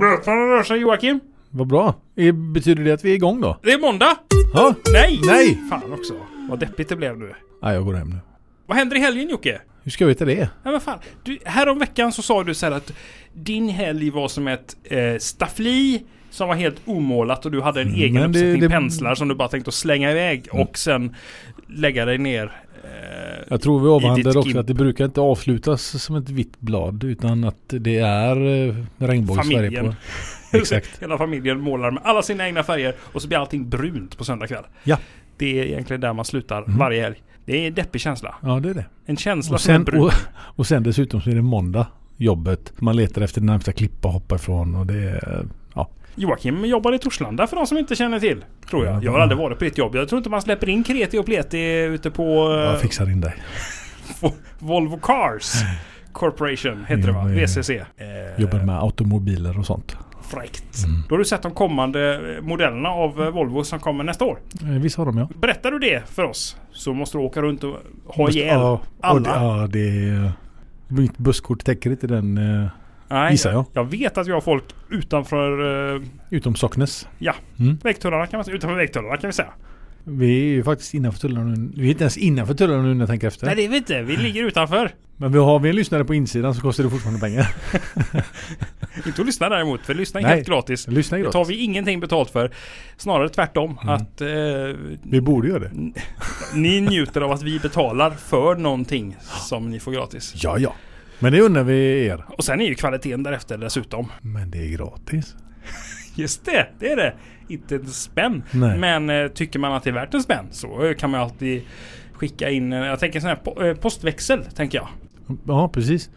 Mötaren rör sig Joakim. Vad bra. I- Betyder det att vi är igång då? Det är måndag! Ja. Nej! Nej! Fan också. Vad deppigt det blev nu. Nej, jag går hem nu. Vad händer i helgen Jocke? Hur ska jag veta det? Nej men fan. Du, härom veckan så sa du så här att din helg var som ett eh, staffli som var helt omålat och du hade en Mm, egen men det- uppsättning det- penslar som du bara tänkte att slänga iväg Mm. och sen lägga dig ner. Eh, Jag tror vi I ditt avhandlade också gimp. att det brukar inte avslutas som ett vitt blad utan att det är eh, regnbågs-Sverige på. Familjen. Exakt. Hela familjen målar med alla sina egna färger och så blir allting brunt på söndag kväll. Ja. Det är egentligen där man slutar Mm. varje helg. Det är en deppig känsla. Ja, det är det. En känsla Och som är sen, brun. och, och sen dessutom så är det måndag. Jobbet. Man letar efter den närmsta klippa att hoppa ifrån och det är... Ja. Joakim jobbar i Torslanda för de som inte känner till. Tror jag. Jag har aldrig varit på ditt jobb. Jag tror inte man släpper in kreti och pleti ute på eh, Jag fixar in dig. Vo- Volvo Cars Corporation heter det va? Jo, Mm. eh, VCC. Eh, Jobbar med automobiler och sånt. Fräckt. Då har du sett de kommande eh, modellerna av eh, Volvo som kommer nästa år. Eh, Visst har de ja. Berättar du det för oss så måste du åka runt och ha Måste- ihjäl ja, och det- alla. Ja, det är... Mitt busskort täcker inte den eh, Nej, gissar jag. Jag vet att vi har folk utanför eh, utom Socknes. vägtullarna kan man säga. Utanför vägtullarna kan vi säga. Vi är ju faktiskt innanför tullarna nu. Vi är inte ens innanför tullarna nu när jag tänker efter. Nej det är vi inte. Vi ligger utanför. Men vi har vi en lyssnare på insidan så kostar det fortfarande pengar. Inte att lyssna däremot. För lyssna är Nej. helt gratis. Lyssna Det gratis. tar vi ingenting betalt för. Snarare tvärtom. Mm. Att eh, Vi borde göra det. ni njuter av att vi betalar för någonting som ni får gratis. Ja, ja. Men det undrar vi er. Och sen är ju kvaliteten därefter dessutom. Men det är gratis. Just det, det är det. Inte en spänn. Nej. Men eh, tycker man att det är värt en spänn så eh, kan man ju alltid skicka in, eh, jag tänker sån här po- eh, postväxel tänker jag. Ja, precis. Det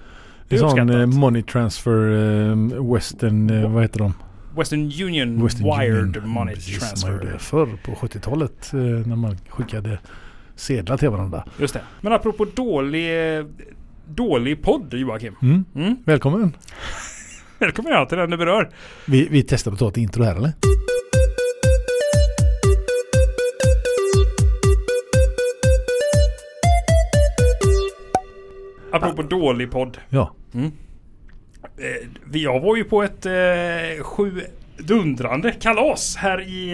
Det är är sån uppskattat. eh, money transfer eh, western, eh, vad heter de? Western Union Western Wired Union. Money precis, Transfer. Man gjorde förr på 70-talet eh, när man skickade sedlar till varandra. Just det. Men apropå dålig, eh, dålig podd Joakim. Mm. Mm. Välkommen. Välkommen jag till den du berör. Vi, vi testar att ta ett intro här eller? Apropå dålig podd. Ja. Eh, vi- Jag var ju på ett eh, sju dundrande kalas här i,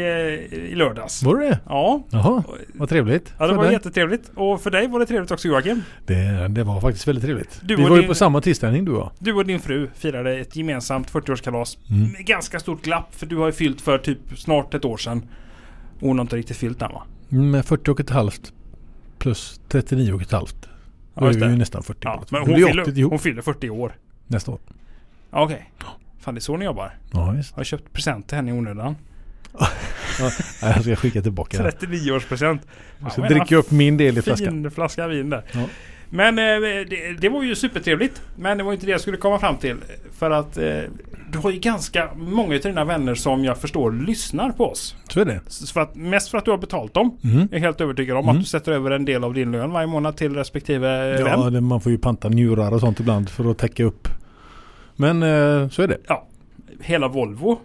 eh, i lördags. Var det det? Ja. Jaha, vad trevligt. Ja, det För var dig. jättetrevligt. Och för dig var det trevligt också Joakim. det, det var faktiskt väldigt trevligt. Du vi och var ju din- på samma tillställning du och jag. Du och din fru firade ett gemensamt 40-årskalas. Mm. Med ganska stort glapp för du har ju fyllt för typ snart ett år sedan. Och hon har inte riktigt fyllt än va? Mm, Med 40 och ett halvt plus 39 och ett halvt. Då Ja, är just vi ju det. nästan 40. Ja, Det men blir hon 80 fyller, ihop hon fyller 40 i år. nästa år. Ja, Okej. Fan det är så ni jobbar. Ja, visst. Har jag köpt present till henne i onödan. Nej, Jag ska skicka tillbaka den. 39 års present. Så dricker jag upp min del i flaskan. Fin flaska vin där. Ja. Men eh, det, det var ju supertrevligt. Men det var inte det jag skulle komma fram till. För att eh, du har ju ganska många av dina vänner som jag förstår lyssnar på oss. Så är det. Så för att, mest för att du har betalt dem. Mm. Jag är helt övertygad om Mm. att du sätter över en del av din lön varje månad till respektive ja. Ja, vän. det- man får ju panta njurar och sånt ibland för att täcka upp. Men eh, så är det. Hela Volvo.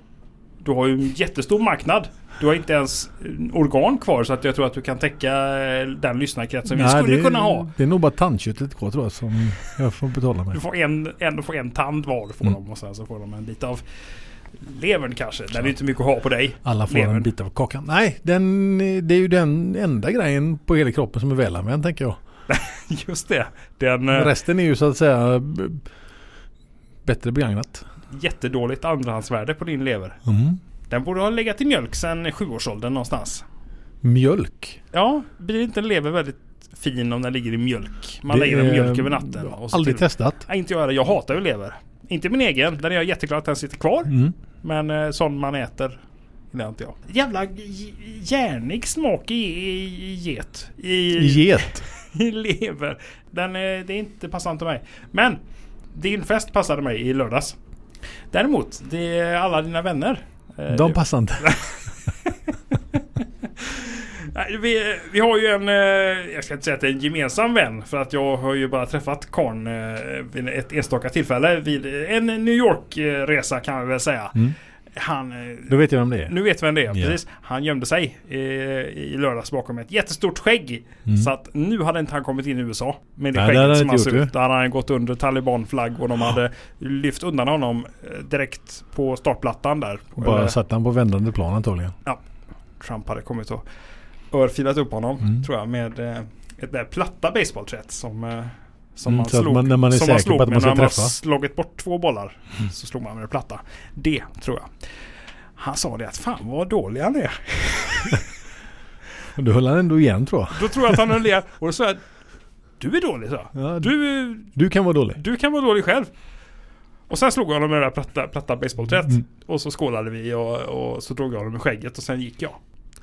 Du har ju en jättestor marknad. Du har inte ens eh, organ kvar så att jag tror att du kan täcka eh, den lyssnarkretsen vi Nej, skulle det, kunna ha. Det är nog bara tandköttet kvar tror jag som jag får betala Du med. får en, en, får en tand var får Mm. de och sen så får de en bit av levern kanske. Där det är inte mycket att ha på dig. Alla får Levern. en bit av kakan. Nej, den, eh, det är ju den enda grejen på hela kroppen som är välanvänd tänker jag. Just det. Den Men eh, Resten är ju så att säga b- bättre begagnat. jättedåligt andrahandsvärde på din lever. Den borde ha legat i mjölk sedan sjuårsåldern någonstans. Mjölk. Ja, blir inte en lever väldigt fin om den ligger i mjölk? Man Det lägger den i är- mjölk över natten. jag har och så Aldrig till- testat. Nej, inte jag heller. Jag hatar ju lever. Inte min egen. Den är jag jätteglad att den sitter kvar. Mm. Men eh, sån man äter gillar inte jag. Jävla j- järnig smak i, i, i get. I, Get. i lever. Den är, det är inte passande till mig. Men din fest passade mig i lördags. Däremot, det är alla dina vänner. Eh, De det- passar inte. Nej, vi, vi har ju en, eh, jag ska inte säga att det är en gemensam vän för att jag har ju bara träffat Karn eh, vid ett enstaka tillfälle. Vid en New York-resa eh, kan vi väl säga. Mm. Han... eh, Då vet jag vem det är. Nu vet vi vem det är. Ja. Precis. Han gömde sig eh, i lördags bakom ett jättestort skägg. Mm. Så att nu hade inte han kommit in i USA. Med det Nej, det hade skägget han som han inte såg gjort, ut. Där hade han gått under talibanflagg och de hade lyft undan honom eh, direkt på startplattan där. Bara Eller satt han på vändande plan antagligen. Trump hade kommit och örfilat upp honom Mm. tror jag med eh, ett där platta baseballträtt som, eh, som Mm, man så att slog. man- när man är som säker på att med man ska när träffa. Mm. man slagit bort två bollar så slog man med det platta. Det tror jag. Han sa det att fan vad dålig han är. Och Då höll han ändå igen tror jag. Då tror jag att han höll det. Och då sa jag Du är dålig så. Ja, du, Du, du kan vara dålig. du kan vara dålig själv. Och sen slog jag honom med det där platta, platta basebollträet. Mm. Och så skålade vi och, och så drog jag honom i skägget och sen gick jag.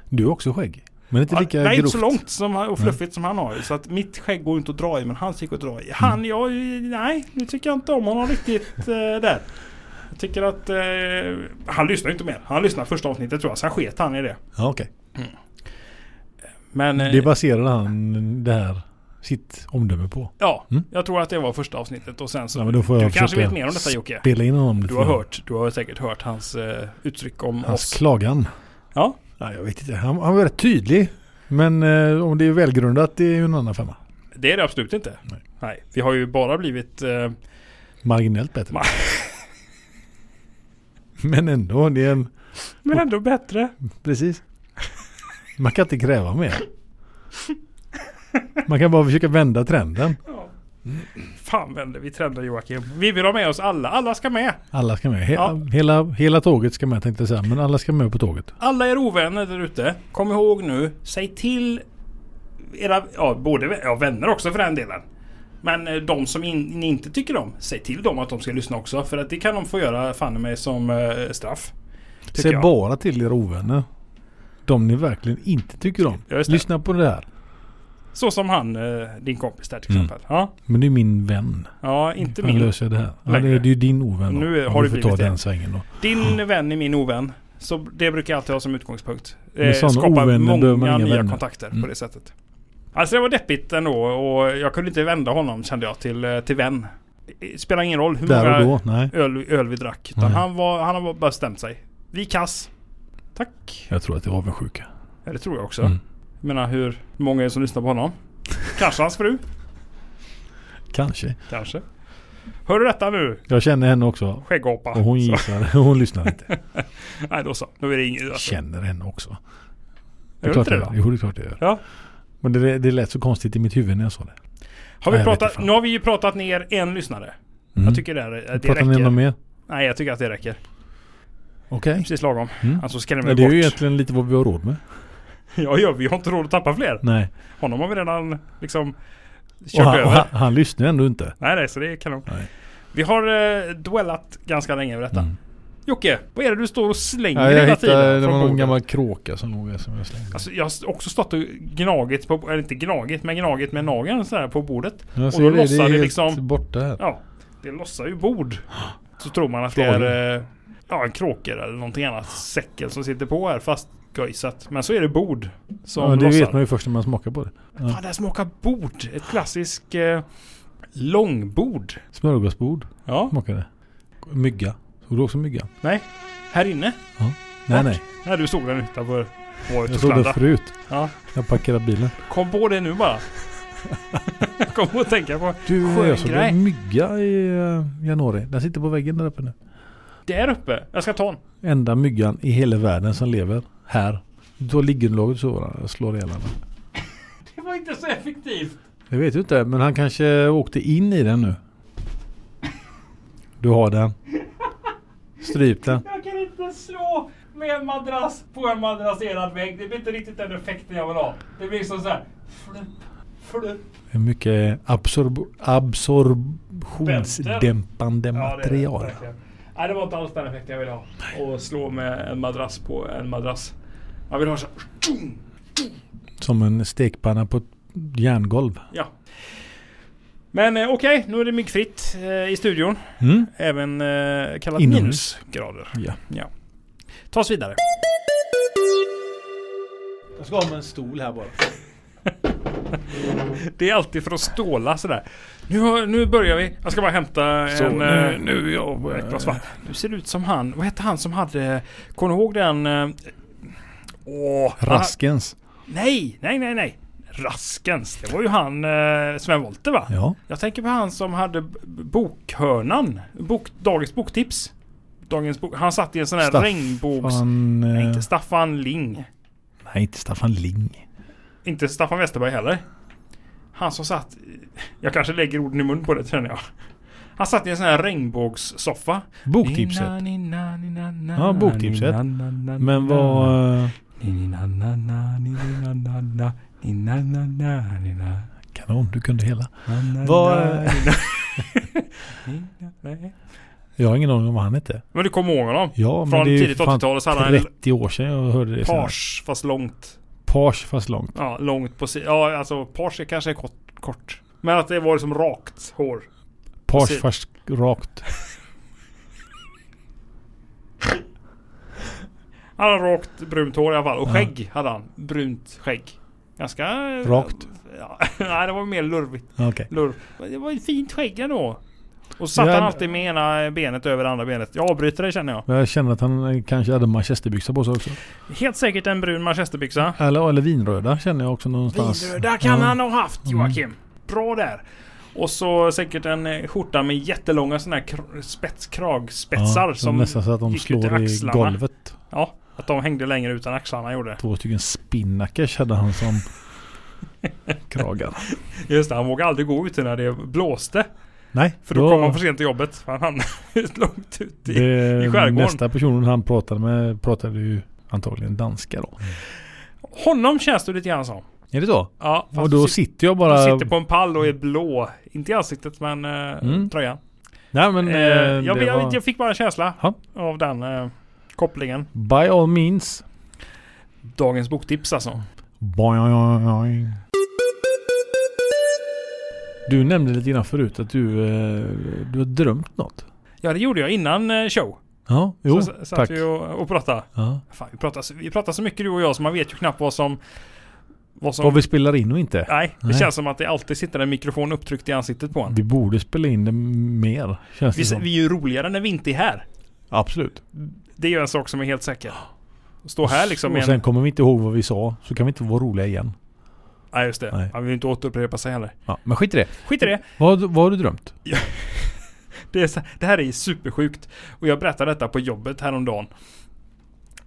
Du har också skägg. Men inte Ja, lika nej, inte grovt. så långt som, han- och fluffigt som han har. ju. Så att mitt skägg går inte att dra i, men hans gick att dra i. Han, Mm. jag, nej, nu tycker jag inte om honom riktigt eh, där. Jag tycker att, eh, han lyssnar ju inte mer. Han lyssnade första avsnittet tror jag, sen sket han i det. Ja, okej. Men, eh, Det baserade han det här sitt omdöme på. ja, Mm. jag tror att det var första avsnittet och sen så Ja, men då får jag Du kanske försöka vet mer om detta, Jocke? Spela in honom lite Du har grann. hört, du har säkert hört hans eh, uttryck om Hans oss. klagan. Ja. Nej, jag vet inte. Han, han var rätt tydlig. Men eh, om det är välgrundat det är ju en annan femma. Det är det absolut inte. Nej. Vi har ju bara blivit... Eh, Marginellt bättre. Ma- men ändå, det är en... men ändå bättre. Precis. Man kan inte kräva mer. Man kan bara försöka vända trenden. Ja. Fan vänder vi trenden Joakim. Vi vill ha med oss alla. Alla ska med. Alla ska med. He- Ja. hela, hela tåget ska med tänkte jag säga. Men alla ska med på tåget. Alla er ovänner där ute. Kom ihåg nu. Säg till era ja, både vä- ja, vänner också för den delen. Men eh, de som in, ni inte tycker om. Säg till dem att de ska lyssna också. För att det kan de få göra fan i mig som eh, straff. Tycker Säg jag. bara till era ovänner. De ni verkligen inte tycker om. Ja, just det. Lyssna på det här. Så som han, eh, din kompis där till Mm. exempel. Ja, Men det är min vän. ja inte Han min. löser det här. Ja, det, Längre. det är ju din ovän då. Nu är- Om har du det får ta blivit det. den svängen då. Din vän är min ovän. Så det brukar jag alltid ha som utgångspunkt. Med Eh, sådana skapa ovänner många behöver man inga nya vänner. kontakter på Mm. det sättet. Alltså det var deppigt ändå och jag kunde inte vända honom kände jag till, eh, till vän. Det spelar ingen roll hur Där och många då. Mm. Nej. öl, öl vi drack. Utan Nej. han, var, han har bara bestämt sig. Vi kass. Tack. Jag tror att det var avundsjuka. Ja, det tror jag också. Mm. Jag menar hur många är det som lyssnar på honom? Kanske hans fru. Kanske. Kanske. Hör du detta nu? Jag känner henne också. Skäggapa. Och hon så, gissar. Hon lyssnar inte. nej då så. Nu är det inget. Alltså, Känner henne också. Det Gör är du klart inte det jag gör. då? Jo, det är klart jag gör. Ja. Men det, det lät så konstigt i mitt huvud när jag sa det. Har vi Nej, jag vet pratat, inte fan. nu har vi ju pratat ner en lyssnare. Mm. Jag tycker det, är- det Pratar ni räcker. något mer? Nej, jag tycker att det räcker. Okej. Precis lagom. Mm. Alltså skrämmer vi Ja, det är ju bort. egentligen lite vad vi har råd med. Ja, ja, vi har inte råd att tappa fler. Nej. Honom har vi redan liksom Mm. Och kört han, och över. han, han lyssnar ändå inte. Nej, nej, så det är kanon. Nej. Vi har eh, duellat ganska länge över detta. Mm. Jocke, vad är det du står och slänger Ja, jag hela hittade, tiden? det från var någon bordet? gammal kråka som låg här som jag slängde. Alltså, jag har också stått och gnagit, på, eller inte gnagit, men gnagit med nageln sådär på bordet. jag då ser det, det lossade är helt liksom- borta här. Ja, det lossar ju bord. Så tror man att det är eh, ja, en kråka eller någonting annat. Säcken som sitter på här fast Men så är det bord som Ja, det lossar. vet man ju först när man smakar på det. Fan, det här smakar bord. Ett klassiskt eh, långbord. Smörgåsbord Ja. smakar det. Mygga. Såg du också myggan? Nej. Här inne? Nej, Vart? nej. Nej, du såg den utanför. Var ute Jag och såg det sladda. förut. Ja. Jag parkerade bilen. Kom på det nu bara. Kom på att tänka på. Du, Skön jag såg grej. en mygga i eh, januari. Den sitter på väggen där uppe nu. Där uppe. Jag ska ta den. Enda myggan i hela världen som lever här. Du tar liggunderlaget och så va? Jag slår ihjäl honom. Det var inte så effektivt. Jag vet ju inte, men han kanske åkte in i den nu. Du har den. Stryp den. Jag kan inte slå med en madrass på en madrasserad vägg. Det blir inte riktigt den effekten jag vill ha. Det blir som så här. Flupp, flupp. Det är mycket absorb absorptionsdämpande material. Det, är det verkligen. Nej, det var inte alls den effekten jag ville ha. Och slå med en madrass på en madrass. Jag vill ha så här, tjong! Som en stekpanna på ett järngolv. Ja. Men eh, okej, nu är det myggfritt eh, i studion. Mm? Även eh, kallat Inomhus. minusgrader. Ja. Ja. Ta oss vidare. Jag ska ha med en stol här bara. Det är alltid för att ståla sådär. Nu, har- nu börjar vi. Jag ska bara hämta Så, en... nu, eh, nu är jag... ett glas vatten. Nu ser det ut som han. Vad hette han som hade... Kommer du ihåg den... eh, Åh! Raskens. Nej, nej, nej, nej. Raskens. Det var ju han eh, Sven Wollter va? Ja. Jag tänker på han som hade b- bokhörnan. Bok, dagens boktips. Dagens bok, han satt i en sån här Staffan, Äh, regnbågs... Fan, Nej, eh, inte Staffan Ling. nej, inte Staffan Ling. Inte Staffan Westerberg heller. Han som satt... Jag kanske lägger orden i mun på det känner jag. Han satt i en sån här regnbågssoffa. Boktipset. Nina, nina, nina, nina, Ja, boktipset. nina, nina, nina, Men nina, vad... eh, nina, nina, nina, nina, nina, nina, nina, nina, nina, Kanon, du kunde hela. nina, Vad- nina, nina, nina. Jag har ingen aning om vad han hette. Men du kommer ihåg honom? Ja, Från men det är ju tidigt fan 80-tal så hade han en 30 år sedan jag hörde det. senast. page fast långt. Page fast långt. Ja, långt på sidan. Ja, alltså page är kanske är kort, kort. Men att det var liksom rakt hår. Page Precis. fast rakt. Han hade rakt brunt hår i alla fall. Och skägg hade han. Brunt skägg. Ganska... eh, Rakt? Ja, nej, det var mer lurvigt. Okej. Lurv. Men Det var ju fint skägg ändå. Och så satt Ja, han men- alltid med ena benet över det andra benet. Jag avbryter det känner jag. Men Jag känner att han eh, kanske hade manchesterbyxa på sig också. Helt säkert en brun manchesterbyxa. Eller, eller vinröda känner jag också någonstans. Vinröda kan Ja. Mm. han ha haft Joakim. Bra där. Och så säkert en eh, skjorta med jättelånga sådana här kr- spets, kragspetsar Ja, som... nästan så att de gick ut i slår i axlarna. golvet. Ja, att de hängde längre utan axlarna gjorde. Två stycken spinnackers hade han som kragar. Just det, han vågade aldrig gå ute när det blåste. Nej, För då, kom han för sent till jobbet. För han hamnade långt ut i... det, i skärgården. Nästa personen han pratade med pratade ju antagligen danska då. Honom känns det lite grann som. Är det så? Ja, fast Och då du sitter jag Du bara... sitter på en pall och är blå. Inte i ansiktet men eh, Mm. tröjan. Nej men... Eh, Eh, jag, det jag, var, jag fick bara en känsla Ja. av den eh, kopplingen. By all means. Dagens boktips alltså. Boing. Du nämnde lite grann förut att du, eh, du har drömt något. Ja det gjorde jag innan eh, show. Ja, jo, så s- satt tack. vi och, och pratade. Ja. Fan, vi, pratade så, vi pratade så mycket du och jag så man vet ju knappt vad som... Vad som Vad vi spelar in och inte. nej, det Nej. känns som att det alltid sitter en mikrofon upptryckt i ansiktet på en. Vi borde spela in det mer, känns Vi, det som. vi är ju roligare när vi inte är här. Absolut. Det är ju en sak som är helt säker. Att Stå här liksom med och sen en... kommer vi inte ihåg vad vi sa, så kan vi inte vara roliga igen. Nej just det. Nej. Man vill ju inte återupprepa sig heller. Ja, men skit i det. Skit i det. Vad, vad har du drömt? Det, är, så- det här är supersjukt. Och jag berättade detta på jobbet häromdagen.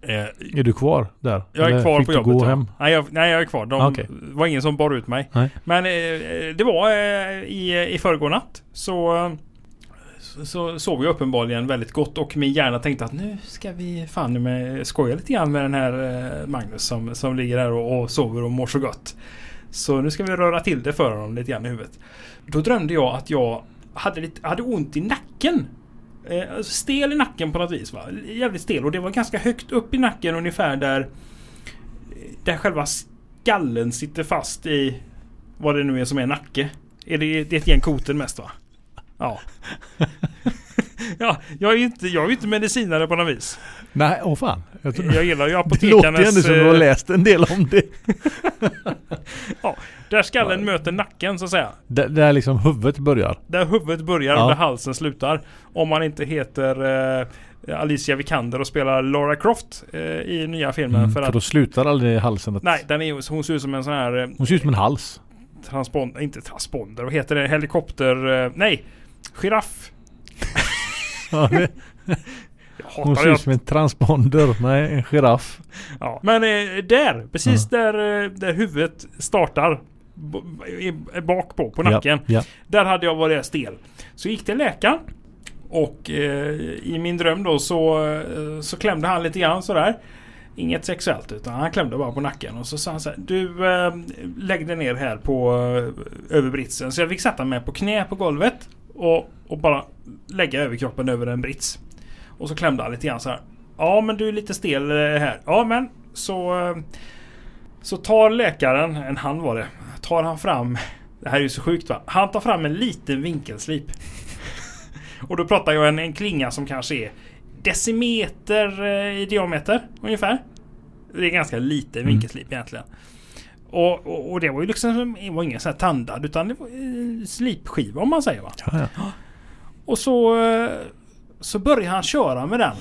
Eh, Är du kvar där? jag är Eller kvar fick på du jobbet. gå ja. hem? Nej, jag, nej, jag är kvar. De, Ah, okej. Det var ingen som bar ut mig. Nej. Men eh, eh, det var eh, i, i förrgår natt. Så, eh, så, så sov jag uppenbarligen väldigt gott. Och min hjärna tänkte att nu ska vi fan med skoja lite grann med den här eh, Magnus som, som ligger här och, och sover och mår så gott. Så nu ska vi röra till det för honom lite grann i huvudet. Då drömde jag att jag hade, lite, hade ont i nacken. Eh, alltså stel i nacken på något vis. Va? Jävligt stel. Och det var ganska högt upp i nacken ungefär där, där själva skallen sitter fast i vad det nu är som är nacke. Är det, det är ett gäng koten mest va? Ja. ja jag är ju inte, jag är ju inte medicinare på något vis. Nej, åh fan. Jag tror, Jag gillar ju det låter ju apotekarnas... ändå som du har eh, läst en del om det. Där skallen möter nacken så att säga. Där, där liksom huvudet börjar. Där huvudet börjar Ja. och där halsen slutar. Om man inte heter eh, Alicia Vikander och spelar Laura Croft eh, i nya filmen. Mm, för för att, då slutar aldrig halsen att... nej, den är, ju- hon ser ut som en sån här eh, Hon ser ut som en hals. transponder, inte transponder, vad heter det? Helikopter... Eh, nej! Giraff! Ja, det- Jag hon hatar ser det. ut som en transponder. Nej, en giraff. Ja. Men eh, där, precis där, eh, där huvudet startar. b- i- Bak på, på nacken. Ja, ja. Där hade jag varit stel. Så jag gick till läkaren. Och eh, i min dröm då så, eh, så klämde han lite grann sådär. Inget sexuellt utan han klämde bara på nacken och så sa han så här, Du eh, lägg dig ner här på eh, över britsen. Så jag fick sätta mig på knä på golvet och, och bara lägga överkroppen över en brits. Och så klämde han lite grann så här. Ja men du är lite stel eh, här. Ja men så eh, så tar läkaren, en han var det, tar han fram, det här är ju så sjukt va, han tar fram en liten vinkelslip. Och då pratar jag en, en klinga som kanske är decimeter eh, i diameter ungefär. Det är ganska liten vinkelslip egentligen. Och, och, och det var ju liksom det var ingen sån här tandad utan det var eh, slipskiva om man säger va. Ja, ja. Och så, eh, så började han köra med den.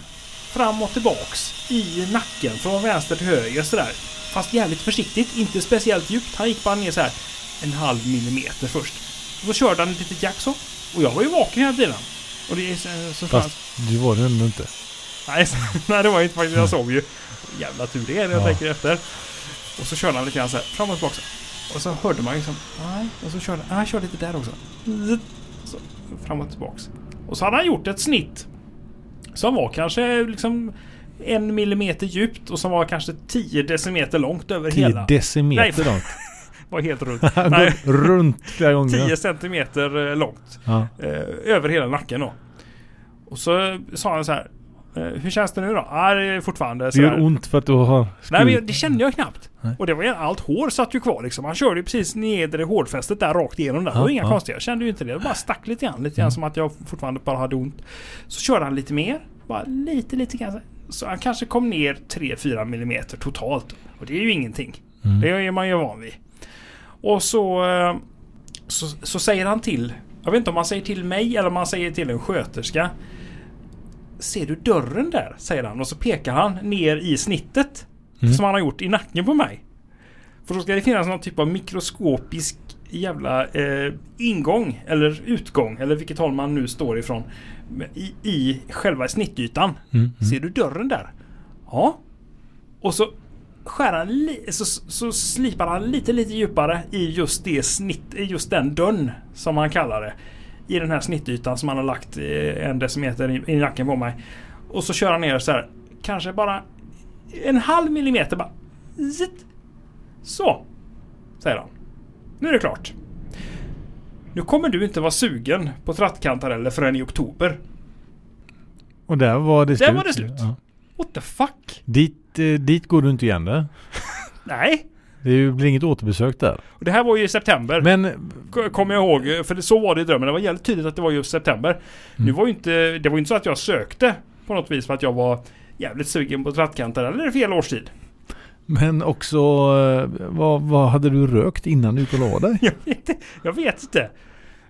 Fram och tillbaks i nacken från vänster till höger sådär. Fast jävligt försiktigt, inte speciellt djupt. Han gick bara ner så här en halv millimeter först. Och så körde han ett litet jack så. Och jag var ju vaken hela tiden. Och det är så, så fanns... Fast du var det ändå inte. Nej, så- nej, det var ju inte faktiskt. Jag såg ju. Jävla tur det är när jag Ja. tänker efter. Och så körde han lite grann så här fram och tillbaka. Och så hörde man liksom, nej, och så körde han, han körde lite där också. Så, fram och tillbaks. Och så hade han gjort ett snitt. Som var kanske liksom en millimeter djupt och som var kanske 10 decimeter långt över 10 hela. decimeter Nej. långt. var helt runt. Han nej, går runt flera gånger. 10 centimeter eh, långt. Ja. Eh, över hela nacken då. Och så sa han så här. eh, Hur känns det nu då? Ah, det är fortfarande Det så här. gör ont för att du har Nej men jag- skurit. det kände jag knappt. Nej. Och det var ju allt hår satt ju kvar liksom. Han körde ju precis nedre hårfästet där rakt igenom där. Det var Ja, Mm. inga ja. konstigheter. Jag kände ju inte det. Det bara stack lite grann. Lite grann som att jag fortfarande bara hade ont. Så körde han lite mer. Bara lite, lite grann. Så han kanske kom ner 3-4 millimeter totalt. Och det är ju ingenting. Mm. Det är man ju van vid. Och så, eh, så, så säger han till. Jag vet inte om han säger till mig eller om han säger till en sköterska. Ser du dörren där? Säger han och så pekar han ner i snittet. Mm. Som han har gjort i nacken på mig. För då ska det finnas någon typ av mikroskopisk jävla eh, ingång eller utgång eller vilket håll man nu står ifrån. I, i själva snittytan. Mm, mm. Ser du dörren där? Ja. Och så skär han li- så, så slipar han lite, lite djupare i just det snitt, i just den dörren som han kallar det. I den här snittytan som han har lagt eh, en decimeter i, i nacken på mig. Och så kör han ner så här, kanske bara en halv millimeter bara. Zitt. Så, säger han. Nu är det klart. Nu kommer du inte vara sugen på trattkantareller förrän i oktober. Och där var det Där slut. var det slut. Ja. What the fuck? Dit, eh, dit går du inte igen där. Nej. Det är ju- blir inget återbesök där. Och det här var ju i september. Men K- Kommer jag ihåg. För det, så var det i drömmen. Det var jävligt tydligt att det var just september. Mm. Nu var ju inte, det var ju inte så att jag sökte på något vis för att jag var jävligt sugen på trattkantareller eller fel årstid. Men också, eh, vad, vad hade du rökt innan du gick och la dig? Jag vet, inte- jag vet inte.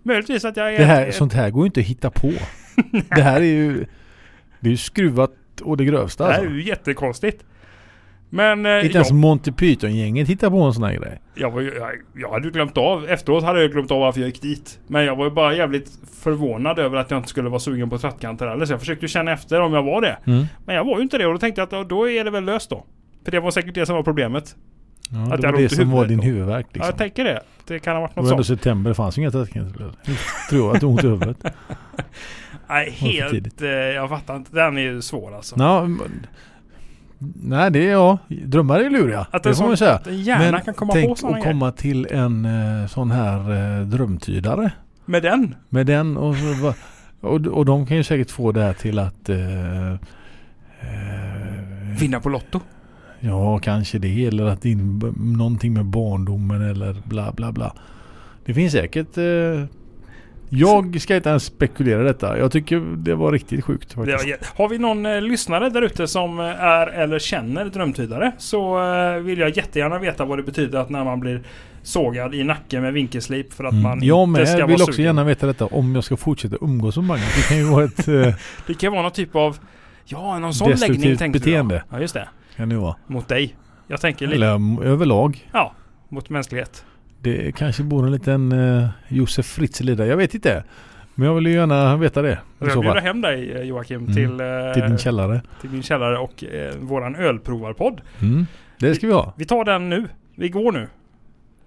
Möjligtvis att jag är... Det här, sånt här går ju inte att hitta på. Det här är ju, det är ju skruvat å det grövsta det här är alltså. ju jättekonstigt. Men eh, Inte jag, ens Monty Python-gänget hittar på en sån här grej. jag, var, ju- jag, jag hade ju glömt av. Efteråt hade jag glömt av varför jag gick dit. Men jag var ju bara jävligt förvånad över att jag inte skulle vara sugen på trattkantareller. Så jag försökte ju känna efter om jag var det. Men jag var ju inte det och då tänkte jag att ja, då är det väl löst då. För det var säkert det som var problemet. Ja, Att det jag har var det ont i som var huvudet din då. huvudvärk Ja, jag liksom. tänker det. Det kan ha varit Det något var ändå sånt. september, det fanns ju inga tätkantareller. Tror jag att det ont i huvudet. Nej, för helt... tidigt. Eh, jag fattar inte. Den är ju svår alltså. Ja, men- nej, det är ja. Drömmar är luriga. Att en det får sån- man säga. att en hjärna Men kan komma tänk på såna att grejer. komma till en eh, sån här eh, drömtydare. Med den? Med den och, så, va- och, och de kan ju säkert få det här till att eh, eh, Vinna på Lotto. Ja, kanske det. Eller att in, b- någonting med barndomen eller bla bla bla. Det finns säkert. Eh, jag ska inte ens spekulera i detta. Jag tycker det var riktigt sjukt. Det Faktiskt. var jä- Har vi någon eh, lyssnare där ute som eh, är eller känner drömtydare så eh, vill jag jättegärna veta vad det betyder att när man blir sågad i nacken med vinkelslip för att man Mm. Jag inte ska med vara vill också sugen. gärna veta detta om jag ska fortsätta umgås med Magnus. Det kan ju vara ett... Eh, Det kan vara någon typ av... Ja, någon sån Destruktivt läggning tänkte beteende. jag. Ja, just det. kan det vara. Mot dig. Jag tänker lite Eller mm, överlag. mot mänsklighet. Det kanske bor en liten eh, Josef Fritzl i det. Jag vet inte. Men jag vill ju gärna veta det. I Jag så bjuder fall. hem dig eh, Joakim Mm. till, eh, Till din källare. till min källare och eh, våran ölprovarpodd. Mm. Det ska vi ha. Vi tar den nu. Vi går nu.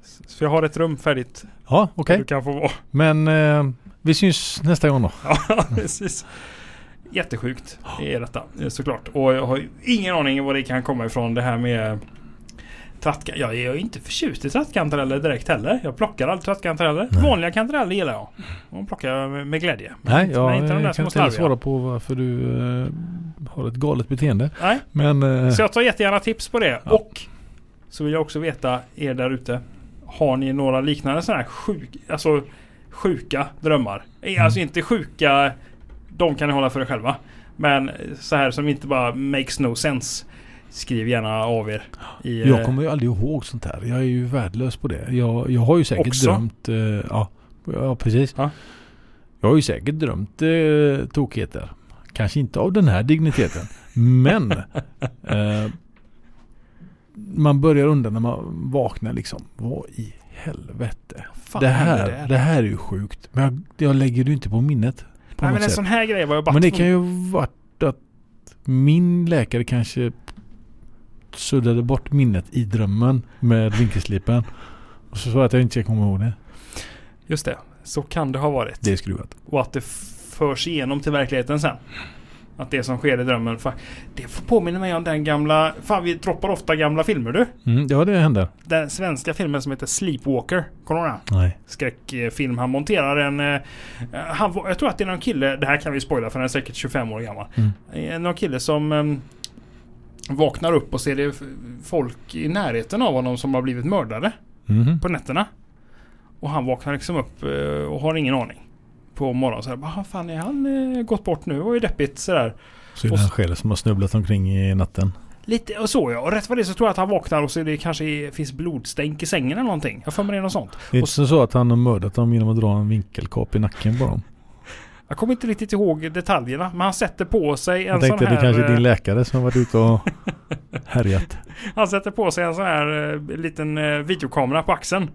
S- Så jag har ett rum färdigt. där Ja, okej. Du kan få vara. Men eh, vi syns nästa gång då. Ja, precis. Jättesjukt är detta eh, såklart. Och jag har ju ingen aning vad det kan komma ifrån det här med trattka. Jag är ju inte förtjust i trattkantareller direkt heller. Jag plockar aldrig trattkantareller. Nej. Vanliga kantareller gillar jag. De plockar jag med- med glädje. Men Nej, inte- jag men inte de där eh, små kan inte heller slarviga. svara på varför du eh, har ett galet beteende. Nej. Men eh, Så jag tar jättegärna tips på det. Ja. Och så vill jag också veta er där ute. Har ni några liknande sådana här sjuk, alltså, sjuka drömmar? Eh, Mm. Alltså inte sjuka, de kan ni hålla för er själva. Men så här som inte bara makes no sense. Skriv gärna av er. I, eh, Jag kommer ju aldrig ihåg sånt här. Jag är ju värdelös på det. Jag, jag har ju säkert Också? drömt... eh, ja, ja, precis. Ja. Jag har ju säkert drömt eh, tokigheter. Kanske inte av den här digniteten. men... Eh, man börjar undra när man vaknar liksom. Vad i helvete? Fan, det, hände här, där? det här är ju sjukt. Men jag, jag lägger det ju inte på minnet. På Nej något men alltså, en sätt. sån här grej var jag bara Men det tvungen- kan ju varit att min läkare kanske suddade bort minnet i drömmen med vinkelslipen. Och så sa jag att jag inte ska komma ihåg det. Just det. Så kan det ha varit. Det är skruvat. Och att det f- förs igenom till verkligheten sen. Att det som sker i drömmen. Fan, det påminner mig om den gamla... Fan vi droppar ofta gamla filmer du. Mm, ja, det händer. Den svenska filmen som heter Sleepwalker. Kommer du ihåg den? Nej. skräckfilm. Han monterar en... eh, Han, var- jag tror att det är någon kille, det här kan vi spoila för den är säkert 25 år gammal. Mm. Eh, Någon kille som em, vaknar upp och ser det f- folk i närheten av honom som har blivit mördade Mhm. på nätterna. Och han vaknar liksom upp eh, och har ingen aning. På morgonen så här, vad fan är han eh, gått bort nu? Det var ju deppigt sådär. Så är Och det han s- själv som har snubblat omkring i natten. Lite och så ja. Och rätt vad det är så tror jag att han vaknar och så är det kanske är- finns blodstänk i sängen eller någonting. Jag får mig det är något sånt. Det är inte så att han har mördat dem genom att dra en vinkelkap i nacken på dem. Jag kommer inte riktigt ihåg detaljerna. Men han sätter på sig en Jag tänkte sån att här... det kanske är eh, din läkare som har varit ute och härjat. Han sätter på sig en sån här eh, liten eh, videokamera på axeln.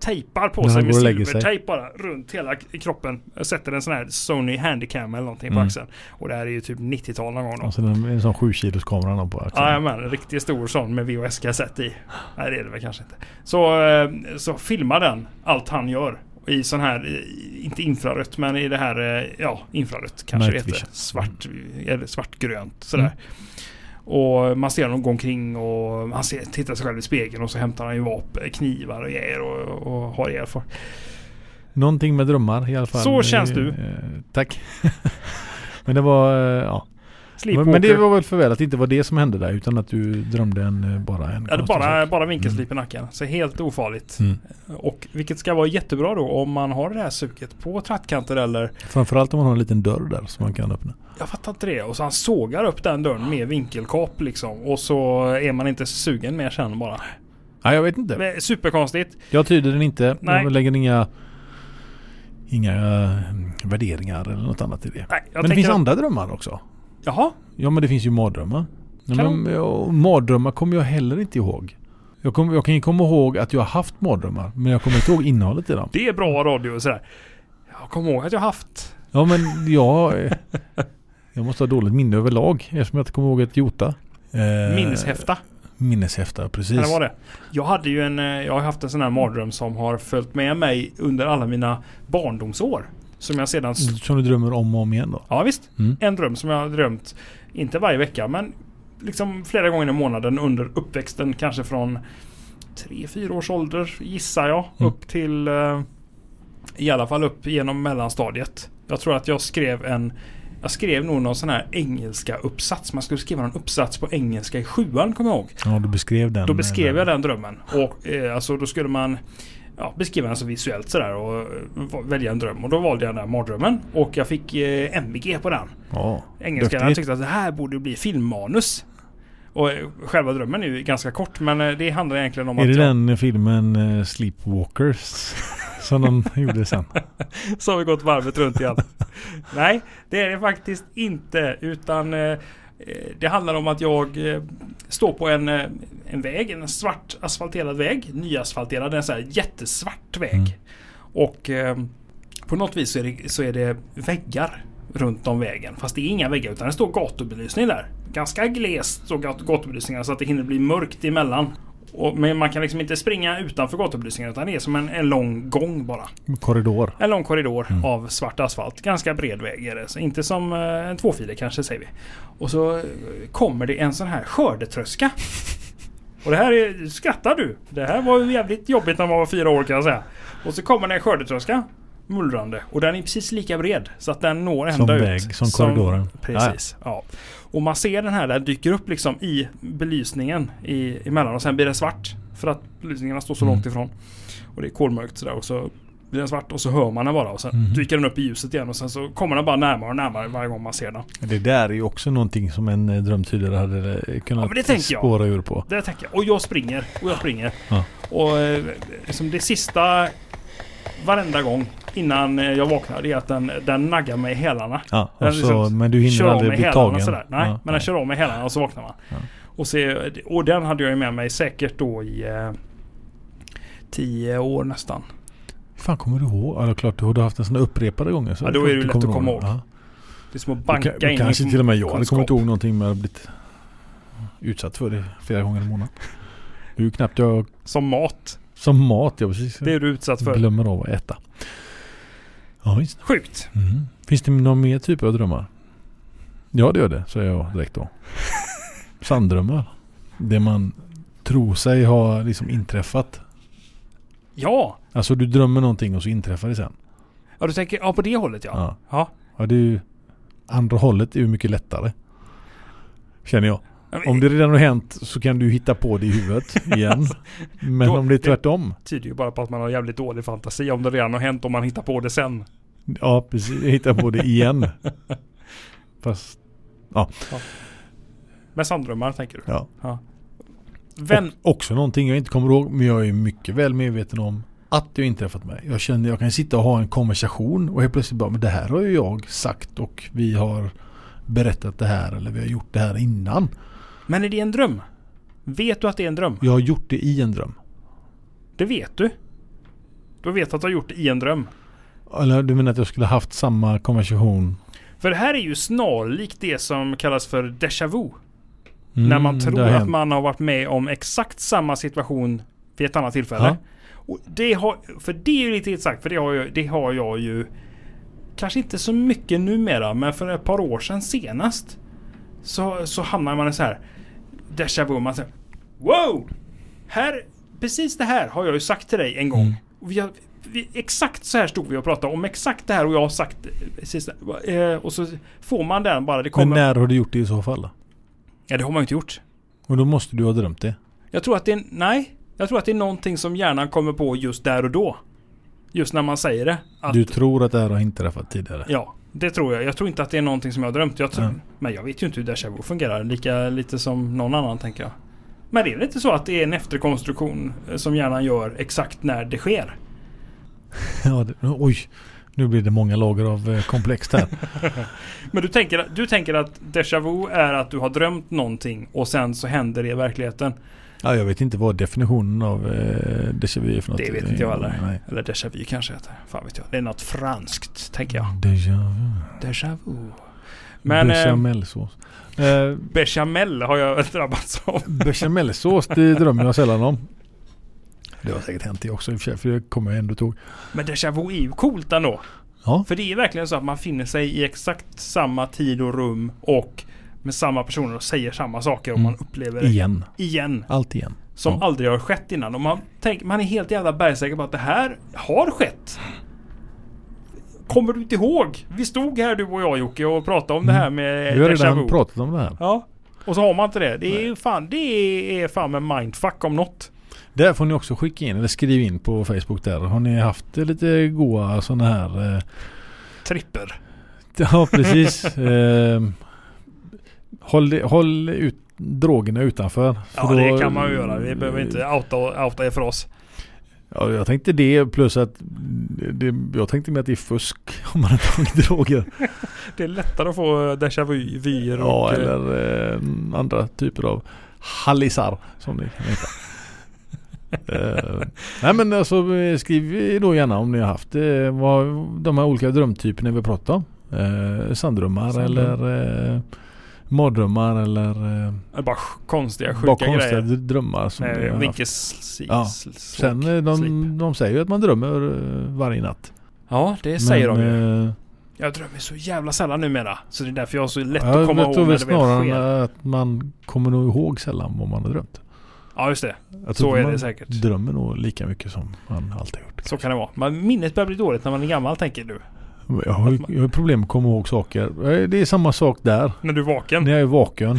Tejpar på När sig han med går och lägger sig. silvertejp bara runt hela k- kroppen. Jag Sätter en sån här Sony Handycam eller någonting på Mm. axeln. Och det här är ju typ 90-tal någon gång då. Och sen en, en sån 7 kilos kamera han har på axeln. Jajamän, en riktigt stor sån med VHS-kassett i. Nej det är det väl kanske inte. Så, eh, så filmar den allt han gör. I sån här, eh, inte infrarött men i det här, eh, ja infrarött kanske det Night heter. vision. Svart, eller svartgrönt sådär. Mm. Och man ser honom gå omkring och han ser, tittar sig själv i spegeln och så hämtar han ju vapen, knivar och grejer och, och har ihjäl folk. Någonting med drömmar i alla fall. Så känns Eh, du. eh, Tack. Men det var, eh, ja. Men, Sleepwalker. men det var väl för väl att det inte var det som hände där utan att du drömde en, eh, Ja, bara en det är konstig bara, sak. bara vinkelslip i nacken. Så helt ofarligt. Mm. Och vilket ska vara jättebra då om man har det här suget på trattkanter eller Framförallt om man har en liten dörr där som man kan öppna. Jag fattar inte det. Och så han sågar upp den dörren med vinkelkap liksom. Och så är man inte sugen mer sen bara. Nej jag vet inte. Det är Superkonstigt. Jag tyder den inte. Nej. Jag lägger inga, inga eh, värderingar eller något annat i det. Nej, jag men det finns att- andra drömmar också. Jaha. Ja men det finns ju mardrömmar. Nej, Kan- men, ja, mardrömmar kommer jag heller inte ihåg. Jag, kom, jag kan ju komma ihåg att jag har haft mardrömmar men jag kommer inte ihåg innehållet i dem. Det är bra radio och sådär. Jag kommer ihåg att jag haft. Ja men jag... eh, Jag måste ha dåligt minne överlag eftersom jag inte kommer ihåg ett jota. Eh, Minneshäfta. Minneshäfta, precis. Eller var det? Jag hade ju en... eh, Jag har haft en sån här mardröm som har följt med mig under alla mina barndomsår. Som jag sedan... s- Som du drömmer om och om igen då? Ja visst. Mm. En dröm som jag har drömt. Inte varje vecka men liksom flera gånger i månaden under uppväxten. Kanske från 3-4 års ålder gissar jag. Mm. Upp till eh, i alla fall upp genom mellanstadiet. Jag tror att jag skrev en jag skrev nog någon sån här engelska uppsats. Man skulle skriva en uppsats på engelska i sjuan kommer jag ihåg. Ja, du beskrev den. Då beskrev jag den drömmen. Och eh, alltså då skulle man ja, beskriva den så visuellt sådär och eh, va- välja en dröm. Och då valde jag den här mardrömmen. Och jag fick eh, MVG på den. Ja. Engelskan Duktigt. tyckte att det här borde bli filmmanus. Och eh, själva drömmen är ju ganska kort men eh, det handlar egentligen om Är det att jag, den filmen eh, Sleepwalkers? Som de gjorde sen. så har vi gått varvet runt igen. Nej, det är det faktiskt inte utan eh, eh, det handlar om att jag eh, står på en, eh, en väg, en svart asfalterad väg, nyasfalterad, en sån här jättesvart väg. Mm. Och eh, på något vis så är, det, så är det väggar runt om vägen. Fast det är inga väggar utan det står gatubelysning där. Ganska glest står gat- gatubelysningen så att det hinner bli mörkt emellan. Och, men man kan liksom inte springa utanför gatubelysningen utan det är som en, en lång gång bara. Korridor. Mm. En lång korridor av svart asfalt. Ganska bred väg är det. Så inte som eh, en tvåfilig kanske säger vi. Och så eh, kommer det en sån här skördetröska. Och det här är, skrattar du? Det här var ju jävligt jobbigt när man var fyra år kan jag säga. Och så kommer det en skördetröska. Mullrande. Och den är precis lika bred. Så att den når Som ända ut. väg, som korridoren. Precis. Ja. Och man ser den här där dyker upp liksom i belysningen i, emellan. Och sen blir det svart. För att belysningarna står så Mm. långt ifrån. Och det är kolmörkt sådär. Och så blir den svart och så hör man den bara och sen Mhm. dyker den upp i ljuset igen och sen så kommer den bara närmare och närmare varje gång man ser den. Det där är ju också någonting som en eh, drömtydare hade eh, Ja, kunnat men det tänker jag. spåra ur på. Det tänker jag. Och jag springer och jag springer. Ja. Och eh, liksom det sista varenda gång innan eh, jag vaknar det är att den, den naggar mig i hälarna. Ja, Den och så, liksom men du hinner kör av aldrig mig bli hälarna tagen. och sådär. Nej, Ja, men den kör av mig hälarna och så vaknar man. Ja. Och, se, och den hade jag ju med mig säkert då i eh, tio år nästan. Hur fan kommer du ihåg? Ja, det är klart du har haft den sådana upprepade gånger. Så Ja, då är det ju lätt att komma ihåg. den. Ja. Det är som att Banka banka kan, in Kanske i till och med jag hade kunskap. kommit ihåg någonting men jag hade blivit utsatt för det flera gånger i månaden. Det är ju knappt jag Som mat. som mat, jag precis Det är du utsatt för. glömmer av att äta. Ja, visst. Sjukt. Mm. Finns det någon mer typ av drömmar? Ja, det gör det, säger jag direkt då. Sanddrömmar. Det man tror sig ha liksom inträffat. Ja. Alltså du drömmer någonting och så inträffar det sen. ja, du tänker ja, på det hållet ja. Ja. ja. Ja, det är ju, andra hållet är ju mycket lättare. Känner jag. Om det redan har hänt så kan du hitta på det i huvudet igen. Men Då- om det är tvärtom. tyder ju bara på att man har jävligt dålig fantasi om det redan har hänt om man hittar på det sen. Ja, precis. Hitta på det igen. Fast, Med sanddrömmar tänker du? ja. Vän, Och, också någonting jag inte kommer ihåg, men jag är mycket väl medveten om att det har inträffat mig. Jag känner jag kan sitta och ha en konversation och helt plötsligt bara, men det här har ju jag sagt och vi har berättat det här eller vi har gjort det här innan. men är det en dröm? Vet du att det är en dröm? Jag har gjort det i en dröm. Det vet du. Du vet att du har gjort det i en dröm. Eller du menar att jag skulle ha haft samma konversation? För det här är ju snarlikt det som kallas för déjà vu. Mm, när man det tror har att hänt. man har varit med om exakt samma situation vid ett annat tillfälle. Ja. Och det har, för det är ju lite exakt, för det har, jag, det har jag ju kanske inte så mycket numera, men för ett par år sedan senast så, så hamnar man i så här déjà vu. Man säger Wow! Här, precis det här har jag ju sagt till dig en gång. Mm. Och vi har, vi, exakt så här stod vi och pratade om exakt det här och jag har sagt precis det. här. Eh, Och så får man den bara. Det Men kommer. när har du gjort det i så fall? då? Ja, det har man ju inte gjort. Och då måste du ha drömt det. Jag tror att det är, nej. Jag tror att det är någonting som hjärnan kommer på just där och då. Just när man säger det. Att, Du tror att det här har inträffat tidigare. Ja, det tror jag. Jag tror inte att det är någonting som jag har drömt. Jag tror, Mm. Men jag vet ju inte hur déjà vu fungerar. Lika lite som någon annan tänker jag. Men det är lite så att det är en efterkonstruktion eh, som hjärnan gör exakt när det sker. Ja, det, oj, nu blir det många lager av eh, komplext här. Men du tänker, du tänker att déjà vu är att du har drömt någonting och sen så händer det i verkligheten. ja, jag vet inte vad definitionen av eh, déjà vu är för något. Eh, Det vet inte jag heller. Nej. Eller déjà vu kanske heter. Fan vet jag. Det är något franskt tänker Mm. jag. Déjà vu. Déjà vu. Men... Men, eh, Bechamelsås. Eh, Bechamel har jag drabbats av. bechamelsås, det drömmer jag sällan om. Det har säkert hänt det också i och för sig, för det kommer jag ändå ihåg. Men déjà vu är ju coolt ändå. Ja. För det är verkligen så att man finner sig i exakt samma tid och rum och med samma personer och säger samma saker och Mm. man upplever det Igen. igen. Allt igen. Som Ja. aldrig har skett innan. Och man, tänker, man är helt jävla bergsäker på att det här har skett. Kommer du inte ihåg? Vi stod här du och jag Jocke och pratade om det här med Mm. Vi har Eh, déjà redan vu. pratat om det här. Ja. Och så har man inte det. Det är ju fan, det är fan med mindfuck om något. Där får ni också skicka in eller skriv in på Facebook där. Har ni haft lite goa sådana här... Eh, Tripper. ja, precis. eh, håll, håll ut, drogerna utanför. för Ja, då- det kan man ju göra. Vi behöver inte outa, outa er för oss. Ja, jag tänkte det plus att det, jag tänkte med att det är fusk om man har tagit droger. Det är lättare att få déjà vu-vyer Ja, och... eh, eller eh, andra typer av hallisar som ni kan heta. Eh, nej men alltså eh, skriv då gärna om ni har haft eh, vad, de här olika drömtyperna vi pratat om. Eh, sanddrömmar Sanddröm. eller eh, mardrömmar eller eh, Bara sj- konstiga, sjuka bara konstiga grejer. Eh, drömmar. Som ni Med har haft. vinkels... Ja. Sen eh, slip. de, de säger ju att man drömmer eh, varje natt. eh, Ja, det säger de ju. ju. Jag drömmer så jävla sällan numera. Så det är därför jag har så lätt Ja, att komma jag ihåg tror när väl det väl sker. snarare att man kommer nog ihåg sällan vad man har drömt. Ja, just det. Jag Så tror är man det säkert. drömmer nog lika mycket som man alltid har gjort. Så kan det vara. Men minnet börjar bli dåligt när man är gammal, tänker du. Jag har, ju, Att man- jag har ju problem med att komma ihåg saker. Eh, Det är samma sak där. När du är vaken. När jag är vaken.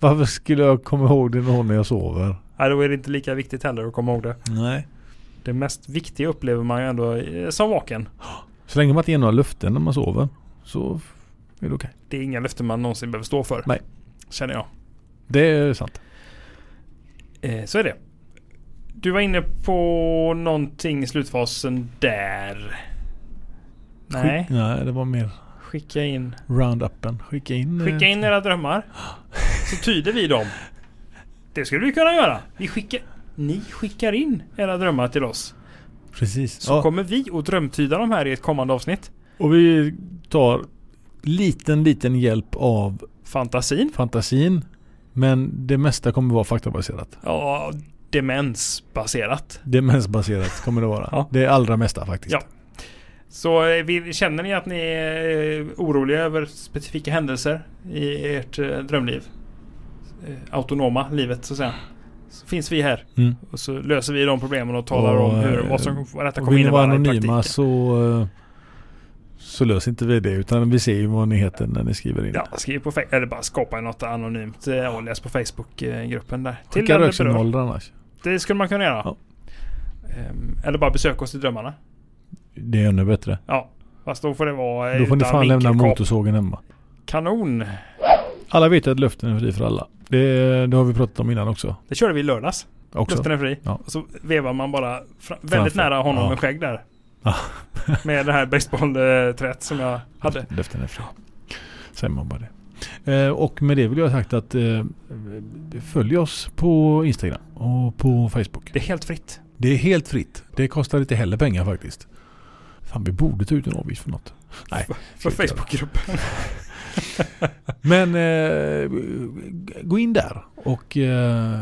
Varför skulle jag komma ihåg det någon när jag sover? Nej, då är det inte lika viktigt heller att komma ihåg det. Nej. Det mest viktiga upplever man ju ändå eh, som vaken. Så länge man inte ger några löften när man sover så är det okej. Det är inga löften man någonsin behöver stå för. Nej. Känner jag. Det är sant. Eh, så är det. Du var inne på någonting i slutfasen där. Nej, Skick- nej, det var mer skicka in. roundupen. Skicka in... eh, Skicka in era drömmar. Så tyder vi dem. Det skulle vi kunna göra. Vi skickar, ni skickar in era drömmar till oss. Precis. Så ja. kommer vi att drömtyda dem här i ett kommande avsnitt. Och vi tar liten, liten hjälp av Fantasin. fantasin. Men det mesta kommer vara faktabaserat. Ja, demensbaserat. Demensbaserat kommer det vara. Ja. Det allra mesta faktiskt. Ja. Så eh, vi, känner ni att ni är eh, oroliga över specifika händelser i ert eh, drömliv? Eh, Autonoma livet så att säga. Så finns vi här Mm. och så löser vi de problemen och talar om hur, vad, som, vad detta Och eh, vill kommer ni vara innebära i anonyma praktiken. så, eh, så löser inte vi det. Utan vi ser ju vad ni heter när ni skriver in. Ja, skriv på Facebook eller bara skapa något anonymt eh, och läs på Facebookgruppen där. Till Skicka den det, berör. röksignaler annars. det skulle man kunna göra. Ja. Ehm, Eller bara besök oss i drömmarna. Det är ännu bättre. Ja, fast då får det vara eh, Då får ni utan fan lämna vinkelkap. motorsågen hemma. Kanon! Alla vet att löften är fri för alla. Det, det har vi pratat om innan också. Det körde vi i lördags. också. Luften är fri. Ja. Och så vevar man bara fra- väldigt Framför. nära honom Ja. med skägg där. Ja. med det här baseballträt som jag hade. Löften är fri. Säger man bara det. Eh, och med det vill jag ha sagt att eh, följ oss på Instagram och på Facebook. Det är helt fritt. Det är helt fritt. Det kostar inte heller pengar faktiskt. Fan, vi borde ta ut en avgift för något. Nej. För ska vi inte göra. Facebookgruppen. Men eh, gå in där och eh,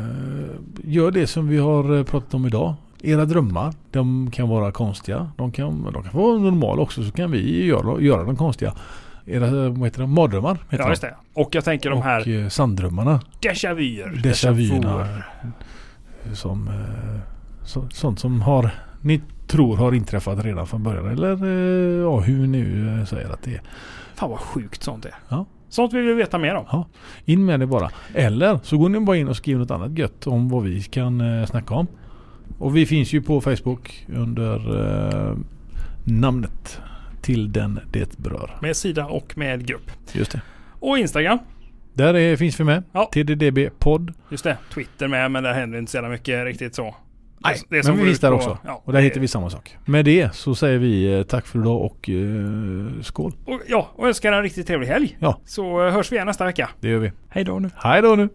gör det som vi har eh, pratat om idag. Era drömmar, de kan vara konstiga. De kan, de kan vara normala också så kan vi göra, göra dem konstiga. Era vad heter det, mardrömmar heter ja, just det. Och jag tänker de. de Och här eh, sanddrömmarna. déjà vuer. Déjà vuerna. vuer. Som, eh, så, sånt som har, ni tror har inträffat redan från början. Eller eh, ja, hur nu eh, säger att det är. Fan vad sjukt sånt är. Ja. Sånt vill vi veta mer om. In med det bara. Eller så går ni bara in och skriver något annat gött om vad vi kan eh, snacka om. Och vi finns ju på Facebook under eh, namnet Till den det berör. Med sida och med grupp. Just det. Och Instagram. Där är, finns vi med. Ja. TDDB podd. Just det. Twitter med men där händer inte så jävla mycket riktigt så. Nej, det som men vi går finns ut där på- också. ja, och där det- heter vi samma sak. Med det så säger vi eh, tack för idag och eh, skål. Och, ja, och önskar en riktigt trevlig helg. Ja. Så eh, hörs vi igen nästa vecka. Det gör vi. Hej då nu. Hej då nu.